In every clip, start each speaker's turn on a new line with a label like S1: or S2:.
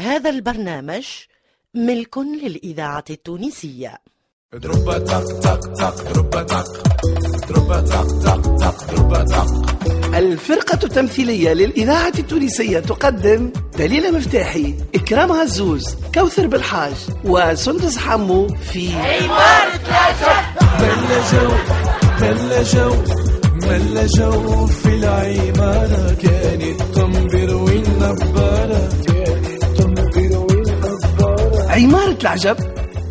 S1: هذا البرنامج ملك للإذاعة التونسية
S2: دروبا تق تق تق دروبا تق دروبا تق تق تق دروبا تق
S3: الفرقة التمثيلية للإذاعة التونسية تقدم دليلة مفتاحي إكرام عزوز كوثر بالحاج وسندس حمو في
S2: ملا جو ملا جو ملا جو في العمارة كانت تنبر والنبارة كانت تنبر والنبارة
S3: عمارة العجب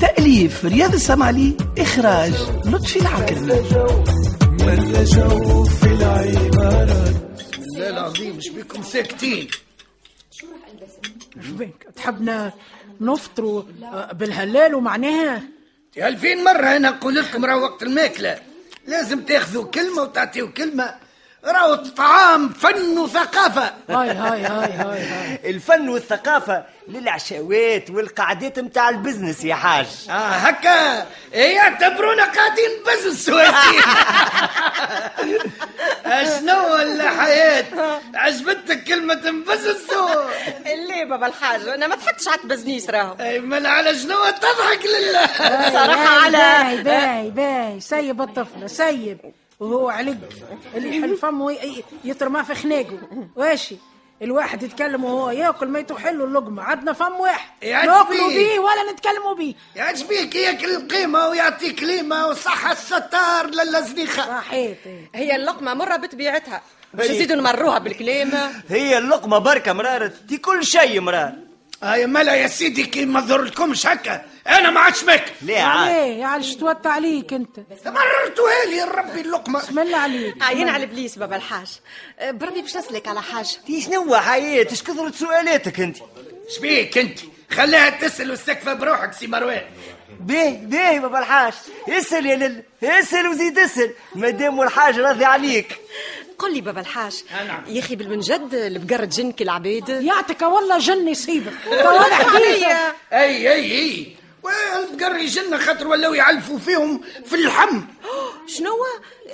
S3: تأليف رياض السمعلي إخراج لطفي العكرمي
S2: ملا جو في العمارة
S4: لا العظيم مش بيكم ساكتين
S5: بنك تحبنا نفطروا آه، بالهلال ومعناها
S4: ألفين مرة أنا نقول لكم راه وقت الماكلة لازم تاخذوا كلمة وتعطيوا كلمة راهو الطعام فن وثقافة
S5: هاي هاي هاي هاي, هاي.
S6: الفن والثقافة للعشاوات والقعدات متاع البزنس يا حاج
S4: آه هكا إيه، يعتبرونا قاعدين بزنس سواسيين آه، شنو الحياة عجبتك كلمة بزنس
S7: ليه بابا الحاج انا ما ضحكتش على البزنيس راهو
S4: من إيه، على شنو تضحك لله
S7: صراحه على
S5: باي باي باي سيب الطفله سيب وهو علق اللي يحل فمه ي- يترمى في خناقه واشي الواحد يتكلم وهو ياكل ما يتحلوا اللقمه عندنا فم واحد
S4: يا
S5: ناكلوا
S4: عجبي.
S5: بيه ولا نتكلموا بيه
S4: يعجبك ياكل القيمة ويعطيك كلمة وصحة الستار للزنيخة
S5: صحيت
S7: هي اللقمه مره بطبيعتها باش نزيدوا نمروها بالكلام
S6: هي اللقمة بركة مرارت دي كل شيء مرار
S4: هاي ملا آه، يا سيدي كي ما ضرلكمش هكا انا ما عادش ماكل
S6: ليه عاد
S5: عليه يعني شو توتى عليك انت
S4: مررتوها لي ربي اللقمه
S5: بسم الله عليك
S7: عين على ابليس بابا الحاج أه، بربي باش نسلك على حاجه
S6: دي شنو حياة اش كثرت سؤالاتك انت
S4: شبيك انت خليها تسال واستكفى بروحك سي مروان
S6: بيه بيه بابا الحاج اسأل يا لل اسأل وزيد اسأل مادام الحاج راضي عليك
S7: قل لي بابا الحاج
S4: آه، نعم.
S7: يا اخي بالمنجد البقر تجنك العباد
S5: يعطيك والله جن يصيبك طيب، طول حديثك
S4: اي اي اي والبقر يجلنا خاطر ولاو يعلفوا فيهم في اللحم
S7: شنو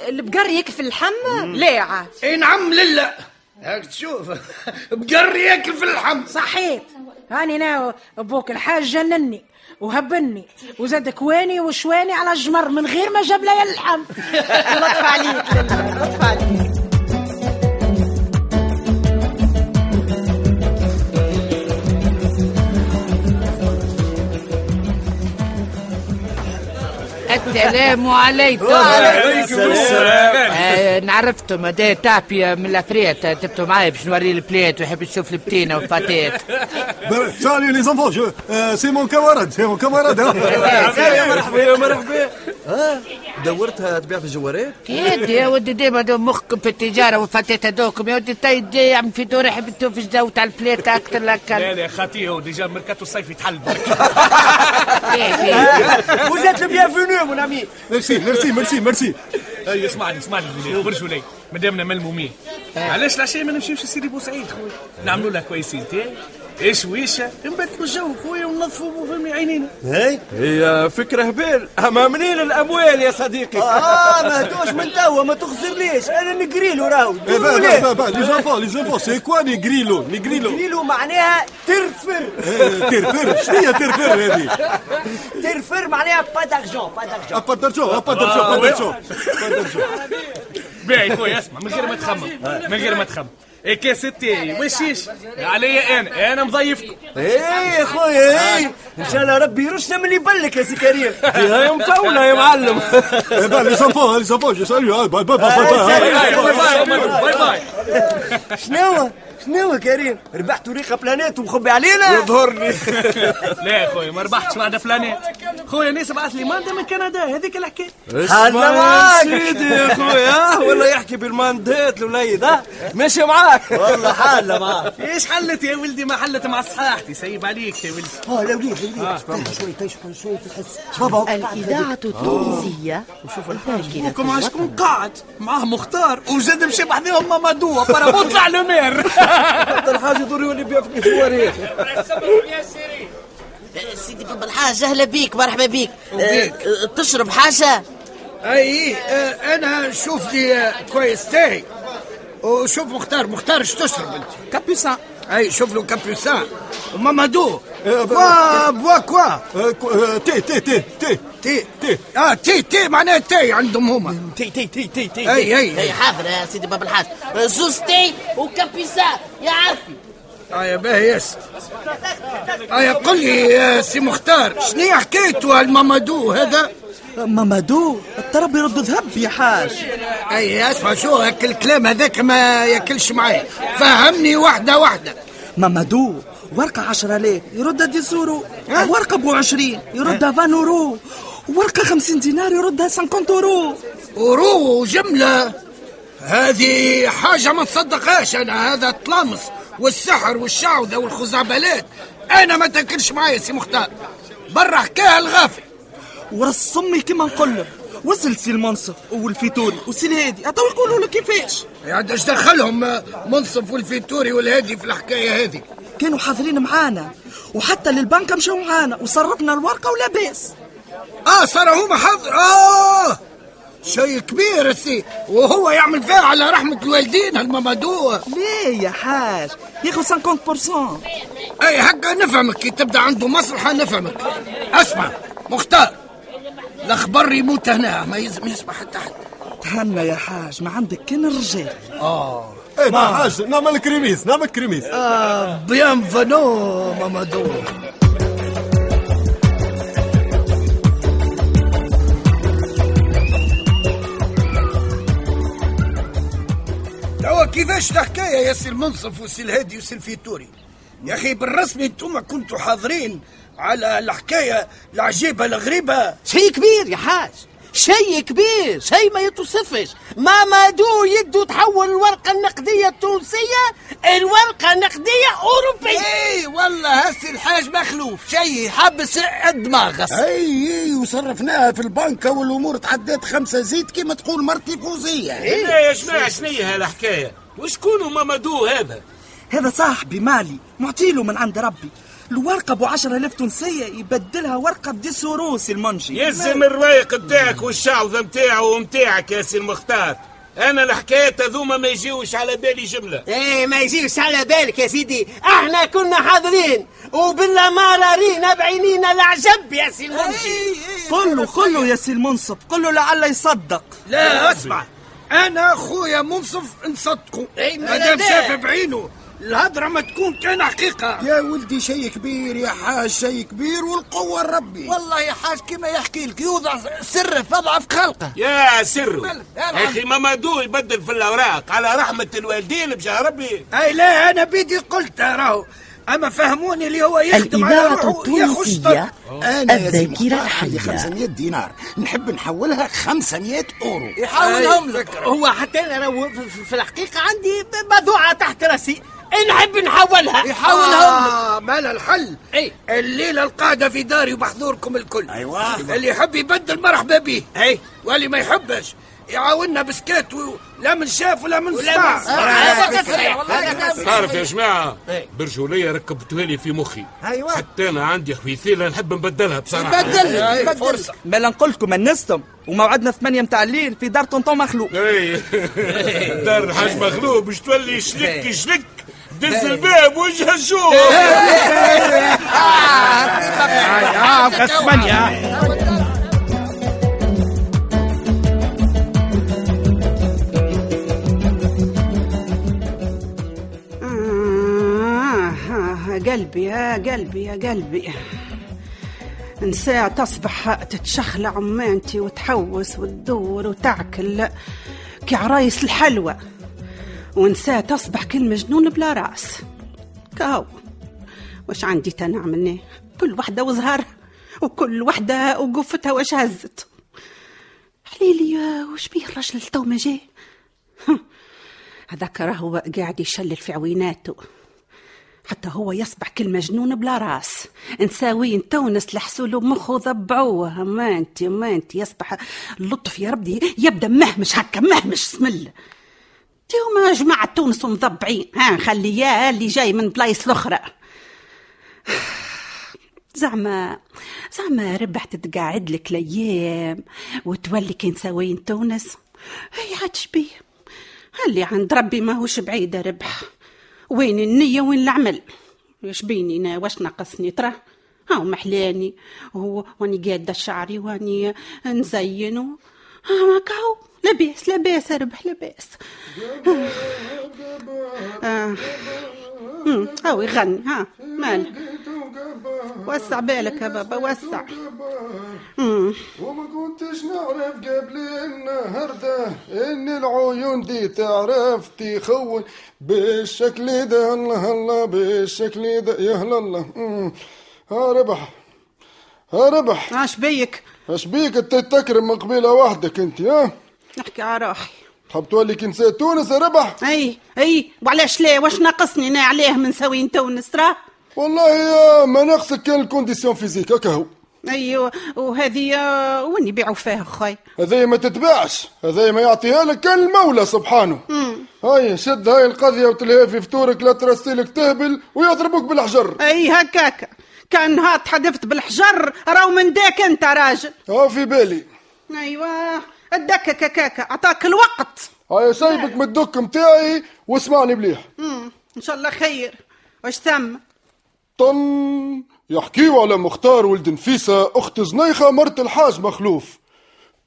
S7: البقر يكفي اللحم لا عاد
S4: اي نعم لله هاك تشوف بقر ياكل في اللحم
S5: صحيت هاني انا بوك الحاج جنني وهبني وزاد كواني وشواني على الجمر من غير ما جاب لي اللحم
S7: لطف عليك لله لطف عليك
S8: السلام عليكم آه نعرفتم هذا تعبية من الافريات جبتوا معايا باش نوري البلاد ويحب يشوف البتينة والفتاة
S9: Ben, Salut les enfants, je- euh, c'est mon camarade, c'est mon camarade. hein.
S2: مرحبا يا مرحبا دورتها تبيع في الجوارات
S8: يدي يا ودي ديما دو مخكم في التجارة والفتاة هذوكم يا ودي طيب يعمل في دور يحب في الجو تاع البلاد أكثر لك
S10: لا خاطيه وديجا ميركاتو الصيفي تحل برك
S6: وزيت البيانفونو مون امي
S9: Merci, merci, merci, merci.
S10: اي اسمعني اسمعني ولي برج ولي مادامنا ملمومين
S6: آه.
S10: علاش العشاء ما نمشيوش لسيدي بوسعيد خويا نعملوا لها كويسين تاعي ايش ويشه نبدلوا الجو خويا وننظفوا فمي عينينا
S2: هي فكرة هبال أما منين الأموال يا صديقي
S6: اه ما هدوش من توا ما تخسرليش انا نقري له راهو
S9: Eh ben, ben, ben, ben, les enfants, les enfants, c'est quoi les grillos Les grillos
S6: نقري له معناها ترفر
S9: Eh, Terre-terre, je dis à terre-terre, Eddie.
S6: ترفر معناها با دارجون با دارجون
S9: Ah, pas d'argent, ah, pas d'argent,
S10: آه،
S9: pas d'argent. Pas d'argent.
S10: باهي خويا اسمع من غير ما تخمم من غير ما تخمم الكاس التالي وشيش عليا انا انا مضيفكم
S9: Eh?
S6: ايه يا خويا ايه ان شاء الله ربي يرشنا من اللي يبلك يا سي كريم
S2: هي مطولة يا معلم إيه،
S9: Eh ben, les enfants, hein, les enfants, je salue.
S2: آه،
S9: hein. Bye, bye, bye, bye,
S6: Ah,
S9: bye,
S6: salut,
S9: hein.
S10: باي باي باي باي
S6: شنو شنو كريم ربحت ريقه بلانات ومخبي علينا يظهرني
S10: لا يا خويا ما ربحتش بعد فلانات خويا ناس بعث لي ماندا من كندا هذيك الحكايه
S6: هلا معاك
S2: سيدي يا خويا ولا يحكي بالماندات الوليد ها ماشي معاك
S6: والله حالة معاك
S10: ايش حلت يا ولدي ما حلت مع صحاحتي سيب عليك يا ولدي
S6: اه لا وليد
S2: آه،
S6: لا وليد شوي تشوي شوي تحس
S1: الإذاعة التونسية
S2: آه.
S10: كم
S1: ذاكرة
S10: عشكم قاعد معاه مختار وزاد مشي بحذاهم مامادو بارابوت على مير
S2: أكثر حاجة يضر يولي بيع في الجوارات
S11: سيدي بابا الحاج اهلا بيك مرحبا بيك أه، تشرب حاجه
S4: اي آه، انا شوف لي آه، كويس تاعي وشوف مختار مختار اش تشرب انت
S10: كابيسا
S4: اي شوف له كابوسان ومامادو فوا فوا كوا آه، تي تي تي تي تي تي اه تي تي معناها تي عندهم هما تي تي تي تي تي اي اي
S11: اي حاضر يا سيدي باب الحاج زوز تي وكابيسا يا عارفي
S4: اه يا باهي ياسر اه يا قل لي يا سي مختار شنو حكايته المامادو هذا
S3: مامادو الطرب يرد ذهب يا حاج
S4: اي اسمع شو هك الكلام هذاك ما ياكلش معايا فهمني واحده واحده
S3: مامادو ورقة عشرة آلاف يردها ديسورو ورقة بو عشرين يردها فان أورو ورقة خمسين دينار يردها سانكونت أورو
S4: أورو جملة هذه حاجة ما تصدقهاش أنا هذا الطلامس والسحر والشعوذة والخزعبلات أنا ما تاكلش معايا سي مختار برا حكاها الغافي
S3: ورس امي كما نقول لك وصل سي المنصف والفيتوري وسي الهادي تو يقولوا لك كيفاش
S4: يعني اش دخلهم منصف والفيتوري والهادي في الحكايه هذه
S3: كانوا حاضرين معانا وحتى للبنك مشاو معانا وصرفنا الورقه ولا باس
S4: اه صاروا هما حاضر اه شيء كبير سي وهو يعمل فيها على رحمة الوالدين هالمامادو
S3: ليه يا حاج ياخذ 50%
S4: اي هكا نفهمك كي تبدا عنده مصلحة نفهمك اسمع مختار الاخبار يموت هنا ما يلزم يسمع حتى حد
S3: تهنى يا حاج ما عندك كان الرجال
S4: اه
S9: ايه ما حاج نعمل الكريميس نعمل الكريميس
S4: اه بيان فانو ماما دور توا كيفاش الحكاية يا سي المنصف وسي الهادي وسي الفيتوري يا اخي بالرسمي انتم كنتوا حاضرين على الحكايه العجيبه الغريبه
S12: شيء كبير يا حاج شيء كبير شيء ما يتوصفش ماما دو يدو تحول الورقة النقدية التونسية الورقة النقدية أوروبية
S13: اي والله هسي الحاج مخلوف شيء حبس الدماغ
S4: اي اي وصرفناها في البنكة والأمور تعدات خمسة زيت كما تقول مرتي فوزية
S13: اي إيه
S4: eh,
S13: يا جماعة شنية هالحكاية وشكون ماما دو هذا
S3: هذا صاحبي مالي معطيله من عند ربي الورقه ب 10000 تونسيه يبدلها ورقه بديسوروس المنشي
S13: يلزم الرايق بتاعك والشعوذه نتاعو ومتاعك يا سي المختار انا الحكايه هذوما ما يجيوش على بالي جمله
S12: ايه ما يجيوش على بالك يا سيدي احنا كنا حاضرين وبالله ما رينا بعينينا العجب يا سي
S3: إيه،
S12: المنشي
S3: قل له قل له يا سي المنصف قل له لعل يصدق
S4: لا اسمع انا خويا منصف نصدقه مادام شاف بعينه الهضرة ما تكون كان حقيقة يا ولدي شيء كبير يا حاج شيء كبير والقوة ربي
S13: والله يا حاج كما يحكي لك يوضع سر في أضعف خلقه يا سر يا أخي مامادو يبدل في الأوراق على رحمة الوالدين بجاه ربي
S4: أي لا أنا بيدي قلت راهو أما فهموني اللي هو يخدم على
S1: الإذاعة
S4: روحه يخش
S1: التونسية
S4: أنا يا سي
S1: الذاكرة
S4: مختار عندي
S1: الحية
S4: 500 دينار نحب نحولها 500 أورو
S12: يحولهم لك هو حتى انا راهو في- في- في الحقيقه عندي موضوعه تحت راسي نحب نحولها
S4: آه ما له الحل اي الليله القاعده في داري وبحضوركم الكل ايوه
S12: أيوة.
S4: اللي يحب يبدل مرحبا به اي واللي ما يحبش يعاوننا بسكات و... لا من شاف ولا من آه. سمع
S13: تعرف يا جماعة
S2: إيه.
S13: برجولية ركبتوها لي في مخي
S3: أيوة.
S13: حتى أنا عندي خبيثيلة نحب نبدلها بصراحة
S3: فرصة مالا نقول لكم انستم وموعدنا ثمانية متاع الليل في دار طنطون مخلوق
S13: اي دار الحاج مخلوق باش تولي شلك شلك دز الباب وجه الجوع
S14: آه آه، قلبي يا قلبي يا قلبي نساء تصبح تتشخلع عمانتي وتحوس وتدور وتعكل كعرايس الحلوى ونساء تصبح كالمجنون بلا راس كاو واش عندي تنعمل أنا؟ كل وحده وزهرها وكل وحده وقفتها واش هزت حليلي وش بيه الرجل تو ما جاي هذاك راهو قاعد يشلل في عويناته حتى هو يصبح كالمجنون بلا راس نساوي نتونس لحسولو مخه ضبعوه ما انت ما انت يصبح اللطف يا ربي يبدا مهمش هكا مهمش سم الله هما جماعة تونس ومضبعين ها نخليها اللي جاي من بلايص الأخرى زعما زعما ربح تتقاعد لك الأيام وتولي كي نساوين تونس هي عاد شبيه اللي عند ربي ماهوش بعيدة ربح
S15: وين النية وين العمل واش بيني انا واش ناقصني ترى هاو محلاني هو واني قاده شعري واني نزين و... ها هاكا هو لاباس لاباس ربح لاباس آه. آه. مم، هاو يغني ها مال وسع بالك يا بابا وسع مم.
S9: وما كنتش نعرف قبل النهار ده ان العيون دي تعرف تخون بالشكل ده الله الله بالشكل ده يا هلا الله مم. ها ربح ها ربح
S15: اش بيك
S9: اش بيك انت تكرم من قبيله وحدك انت ها
S15: نحكي على روحي
S9: تحب تولي كنساء تونس يا ربح
S15: اي اي وعلاش لا واش ناقصني انا عليه من سوين تونس راه
S9: والله يا ما ناقصك كان الكونديسيون فيزيك هكا هو
S15: ايوه وهذه آه، وين يبيعوا فيها خوي
S9: هذايا ما تتباعش هذايا ما يعطيها لك كان المولى سبحانه هاي شد هاي القضية وتلهي في فطورك لا ترسلك تهبل ويضربوك بالحجر
S15: اي هكاك كان ها تحدفت بالحجر راهو من داك انت راجل
S9: ها في بالي
S15: ايوه اداك كاكاكا اعطاك الوقت
S9: هاي سايبك من الدك متاعي واسمعني مليح
S15: مم. ان شاء الله خير واش ثم
S9: طن يحكيو على مختار ولد نفيسة أخت زنيخة مرت الحاج مخلوف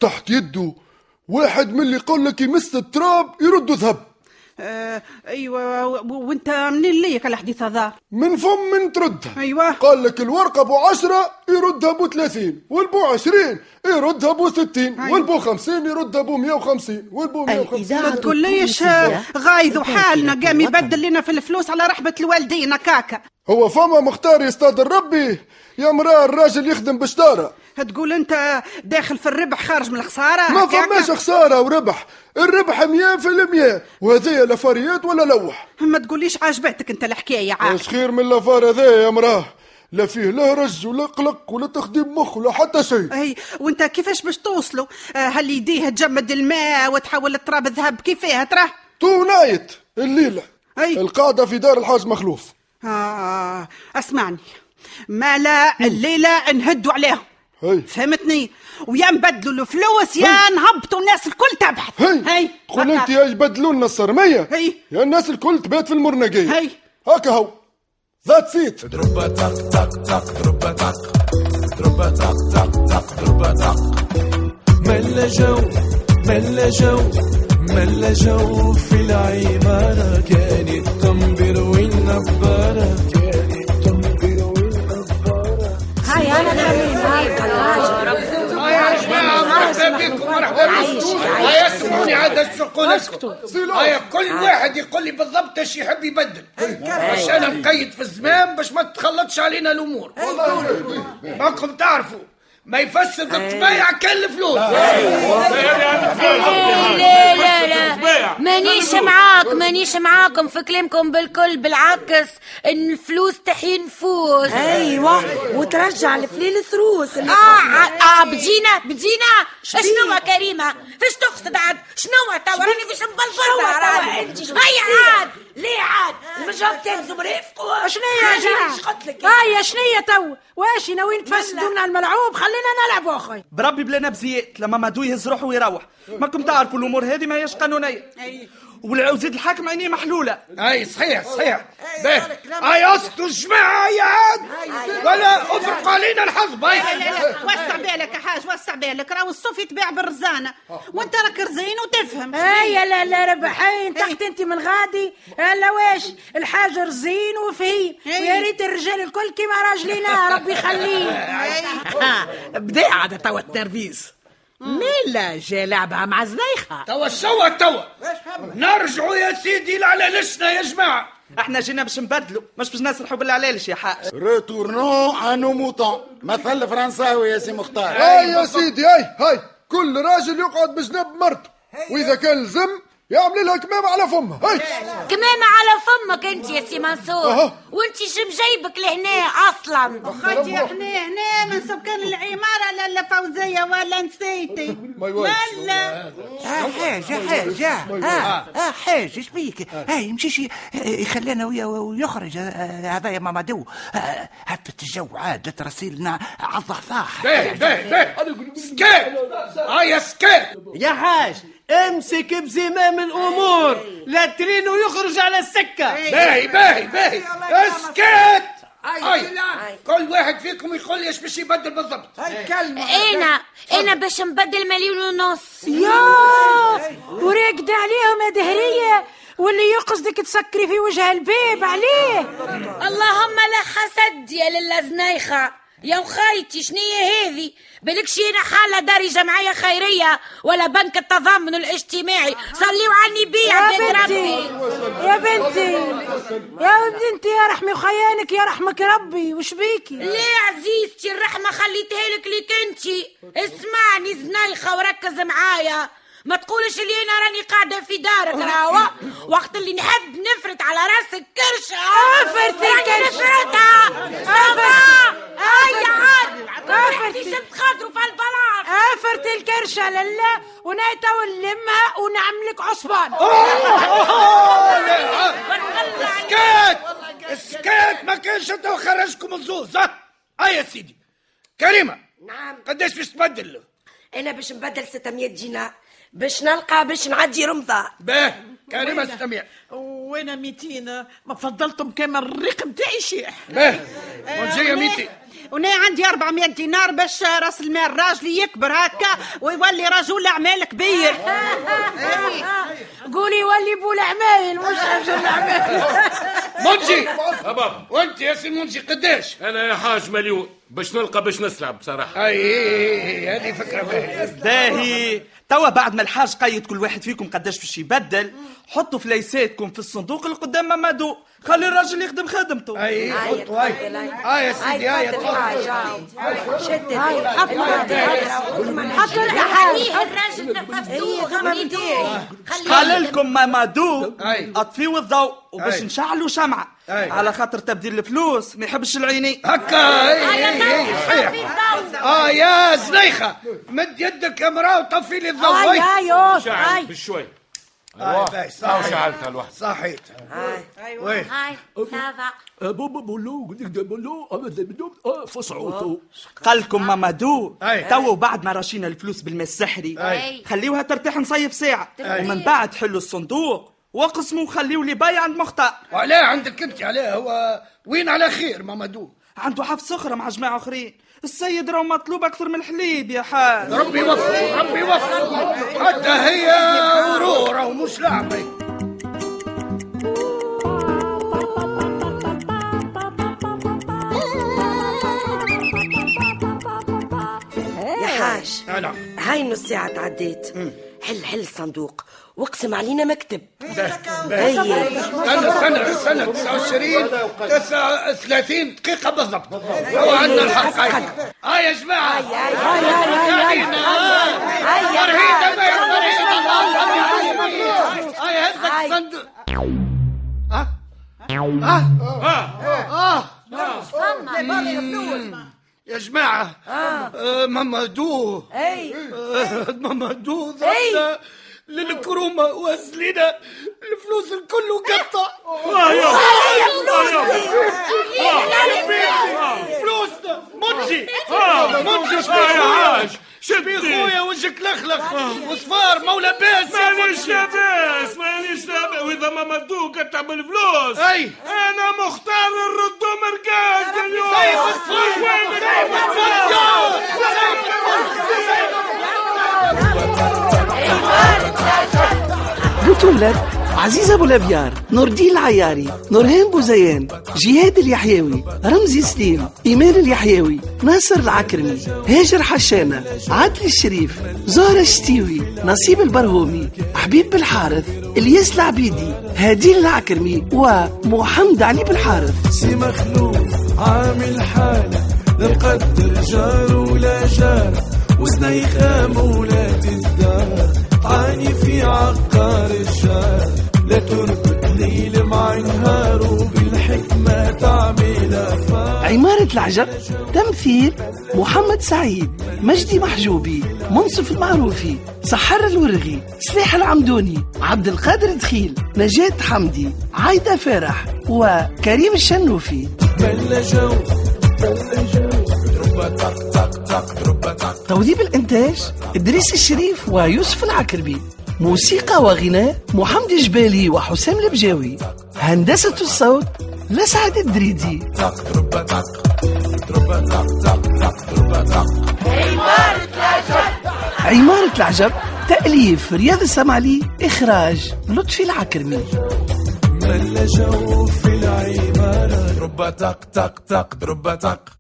S9: تحت يده واحد من اللي يقول لك يمس التراب يرد ذهب
S15: آه ايوه و- و- وانت منين ليك على حديث هذا
S9: من فم من تردها
S15: ايوه
S9: قال لك الورقة بو عشرة يردها بو ثلاثين والبو عشرين يردها بو ستين والبو خمسين يردها بو مية وخمسين والبو مية وخمسين
S15: ما تقوليش آه، غايظ وحالنا قام يبدل لنا في الفلوس على رحبة الوالدين هكاك
S9: هو فما مختار يستاد ربي يا مراه الراجل يخدم بشطاره
S15: تقول انت داخل في الربح خارج من الخساره
S9: ما
S15: هكاك؟
S9: فماش خساره وربح الربح 100% وهذيا لفاريات ولا لوح
S15: ما تقوليش عجبتك انت الحكايه عاد
S9: اش خير من لافار هذايا يا مراه لا فيه لا رج ولا قلق ولا تخديم مخ ولا حتى شيء
S15: اي وانت كيفاش باش توصلوا آه، هل يديه تجمد الماء وتحول التراب ذهب كيفاه تراه
S9: تو نايت الليله أي. القاعده في دار الحاج مخلوف
S15: آه اسمعني ما لا الليلة نهدوا عليهم فهمتني ويا نبدلوا الفلوس يا نهبطوا الناس الكل تبحث هي
S9: قول انت يا يبدلوا لنا الصرميه يا الناس الكل تبات في المرنقيه هي هكا هو ذات سيت
S2: دروبا تاك تاك تاك دروبا تاك دروبا تاك تاك تاك دروبا تاك ملا جو ملا جو ملا جو في العمارة كان التنبر والنبارة كان التنبر والنبارة
S16: هاي انا الحبيب هاي
S4: يا جماعة مرحبا بكم مرحبا بكم هيا سموني عاد السوق نسكتوا هيا كل واحد يقول لي بالضبط ايش يحب يبدل باش انا مقيد في الزمان باش ما تخلطش علينا الامور راكم تعرفوا ما يفسد الطبيعة كل فلوس
S5: لا لا لا مانيش معاك مانيش معاكم في كلامكم بالكل بالعكس ان الفلوس تحيي نفوس
S17: ايوه وترجع الفليل ثروس
S5: اه اه آه، بدينا بدينا شنو يا كريمه فاش تقصد عاد شنو تو راني فاش مبلبطه راني هيا عاد
S17: ليه عاد مش بتهزم ريفكم
S14: شنو يا جماعه
S17: ايش قلت لك
S14: هيا شنو تو واش ناويين تفسدونا الملعوب خلينا نلعبوا اخوي
S18: بربي بلا نبزيات لما مادو يهز روحه ويروح ماكم تعرفوا الامور هذه ماهيش قانونيه والعوزيد الحاكم عينيه محلوله
S4: اي صحيح صحيح باهي. هيا اسكتوا الجماعة هيا عاد ولا افرقوا علينا الحظ هيا.
S15: لا لا لا وسع بالك يا حاج وسع بالك راهو الصوف يتباع بالرزانه وانت راك رزين وتفهم
S5: آه،
S19: إيه.
S14: هيا لا لا ربح هيا انتحت انت من غادي هلا واش الحاجه رزين
S19: إيه.
S14: وفهيم ويا ريت الرجال الكل كيما راجلينا ربي يخليه
S19: إيه.
S20: بدا عاد توا الترفيز ميلا جا لعبها مع زنيخة
S4: توا شوا توا نرجعوا يا سيدي لعلالشنا يا جماعة
S18: احنا جينا باش نبدلوا مش باش نسرحوا بالعلالش يا حاج
S21: ريتورنو انو موطون مثل فرنساوي يا سي مختار
S4: Eh,
S9: هاي يا سيدي هاي هاي كل راجل يقعد بجنب مرته واذا كان لزم يعمل لها كمامه على فمها هاي
S5: كمامة على فمك انت يا سي منصور
S9: أها.
S5: وانت شم جايبك لهنا اصلا
S19: اخوتي احنا هنا من سكان العماره لا لا فوزيه ولا نسيتي ملا
S13: آه، حاجة حاجة اه
S4: آه.
S13: اه حاجة اش بيك اه يمشيش يخلينا ويا ويخرج آه، آه، هذا يا ماما دو آه، هفت الجو عاد لا ترسيلنا على
S4: Eh,
S13: الضحضاح
S4: آه، باهي باهي باهي سكات هيا سكات
S20: يا حاج
S6: امسك بزمام الامور
S13: إيه.
S6: لا ترينو يخرج على السكه
S4: باهي باهي باهي اسكت أي.
S6: أي.
S4: كل واحد فيكم يقول لي ايش باش يبدل بالضبط هاي كلمه
S22: انا انا إيه، باش نبدل مليون ونص
S5: يا وراقدة عليهم يا دهرية واللي يقصدك تسكري في وجه الباب عليه
S22: اللهم لا حسد يا للزنايخة يا وخيتي شنية هذه بالك شينا حالة داري جمعية خيرية ولا بنك التضامن الاجتماعي صليوا على النبي
S5: يا
S22: عباد
S5: بنتي
S22: ربي
S5: يا بنتي يا بنتي يا رحمي وخيانك يا رحمك ربي وش بيكي
S22: ليه عزيزتي الرحمة خليتها لك ليك انتي اسمعني زنايخة وركز معايا ما تقولش اللي انا راني قاعدة في دارك راهو وقت اللي نحب نفرت على راسك كرشة
S5: افرتي
S22: راني
S5: الكرشة.
S22: نفرتها صبا هيا عاد
S5: افرتي
S22: ريحتي شبت خاطره في البلاط
S5: افرتي الكرشة لله ونايتا ونلمها ونعملك عصبان
S4: اسكت اسكت ما كانش انت وخرجكم الزوز ها هيا يا سيدي كريمه
S23: نعم
S4: قداش باش تبدل
S23: انا باش نبدل 600 دينار باش نلقى باش نعدي رمضان
S4: باه كريمه استمع
S24: وانا 200 ما فضلتم كما الريق بتاعي شيح
S4: باه
S15: آه،
S4: وجايه ميتي
S25: وانا عندي 400 دينار باش راس المال راجلي يكبر هكا ويولي رجل اعمال كبير
S5: قولي ولي بول عمايل مش رجل عمايل
S4: منجي
S13: بابا
S4: وانت يا سي منجي قداش
S13: انا يا حاج مليون باش نلقى باش نسلع بصراحه
S4: اي اي اي هذه فكره باهيه
S18: داهي توا بعد ما الحاج قيد كل واحد فيكم قداش باش يبدل حطوا فليساتكم في الصندوق اللي قدام مامادو خلي الراجل يخدم خدمته
S4: اي حطوا اي اه يا سيدي اه يا تفضل
S23: شدت
S5: هاي، حطوا. حطوا
S22: خليه الراجل نففتوه خليه
S18: قال لكم مامادو اطفيوا الضوء وباش
S4: أي.
S18: نشعلوا شمعة على خاطر تبديل الفلوس ما يحبش العيني
S4: هكا اي اي اي صحيح
S5: آه.
S4: اه يا زليخه مد يدك يا مراه وطفي لي الضوء
S5: آي، آي، أوه،
S13: شعل
S5: آي.
S13: بشوي
S4: صحيح.
S13: تو شعلتها الواحد
S4: صحيت
S22: ايوه هاي سافا
S4: أه،
S26: بابا بولو قدك بولو أبدا بدو فصعوتو
S18: قال لكم مامادو
S26: أي.
S18: تو بعد ما رشينا الفلوس بالماء السحري
S26: أي.
S18: خليوها ترتاح نصيف ساعة
S4: أي.
S18: ومن بعد حلوا الصندوق وقسموا وخليوا لي باي عند مختار
S4: وعلاه عندك انت علاه هو وين على خير مامادو
S18: عنده حفص اخرى مع جماعه اخرين السيد راه مطلوب اكثر من الحليب يا حاج
S4: ربي يوفقه ربي يوفقه حتى هي وروره ومش لعبه
S23: يا حاج
S4: نعم
S23: هاي نص ساعة تعديت حل حل الصندوق واقسم علينا مكتب
S4: استنى استنى استنى 29 39 دقيقة بالضبط هو عندنا الحق هاي هاي يا جماعة هاي هاي هاي هاي هاي مرهيدة بيت مرهيدة هاي هزك الصندوق اه اه
S5: إيه،
S4: اه يا جماعة آه، ماما دو
S5: اي
S4: آه، ماما دو
S5: إي.
S4: ضربنا للكرومة وزلنا الفلوس الكل وقطع
S5: آه، يا. آه، يا
S4: آه،
S5: فلوسي.
S4: يا.
S5: آه،
S4: آه،
S5: يا فلوسي.
S4: فلوسنا منجي
S5: آه،
S4: منجي
S5: آه،
S4: شبيه
S5: يا
S4: خويا.
S5: حاج.
S4: شبيه خويا وجهك لخلخ وصفار مو لاباس يا
S13: مانيش
S4: منجي.
S13: لاباس مانيش لاباس واذا ما مدوك اتعب الفلوس
S4: اي
S13: انا مختار الردو مركز اليوم
S4: سيف الصفر.
S13: وين
S4: سيف
S13: الصفر.
S27: بطولة عزيزة أبو الأبيار نور الدين العياري نورهان بوزيان جهاد اليحيوي رمزي سليم إيمان اليحيوي ناصر العكرمي هاجر حشانة عدلي الشريف زهرة الشتيوي نصيب البرهومي حبيب بالحارث الياس العبيدي هادين العكرمي ومحمد علي بالحارث
S2: سي مخلوف عامل حالة لا مقدر جار ولا جار وسنيخة مولات الدار تعاني في عقار الشار لا تربط ليل مع نهار وبالحكمة تعمل أفكار
S27: عمارة العجب تمثيل محمد سعيد مجدي محجوبي منصف المعروفي سحر الورغي سلاح العمدوني عبد القادر دخيل نجاة حمدي عايدة فرح وكريم الشنوفي
S2: ملا جو ملا جو تربة تق تق تق تربة تق
S27: توذيب الإنتاج إدريس الشريف ويوسف العكربي موسيقى وغناء محمد جبالي وحسام البجاوي هندسة الصوت لسعد الدريدي عمارة العجب تأليف رياض السمعلي إخراج لطفي العكرمي
S13: ملا جو في العمارة ضربة تق تق تق ضربة تق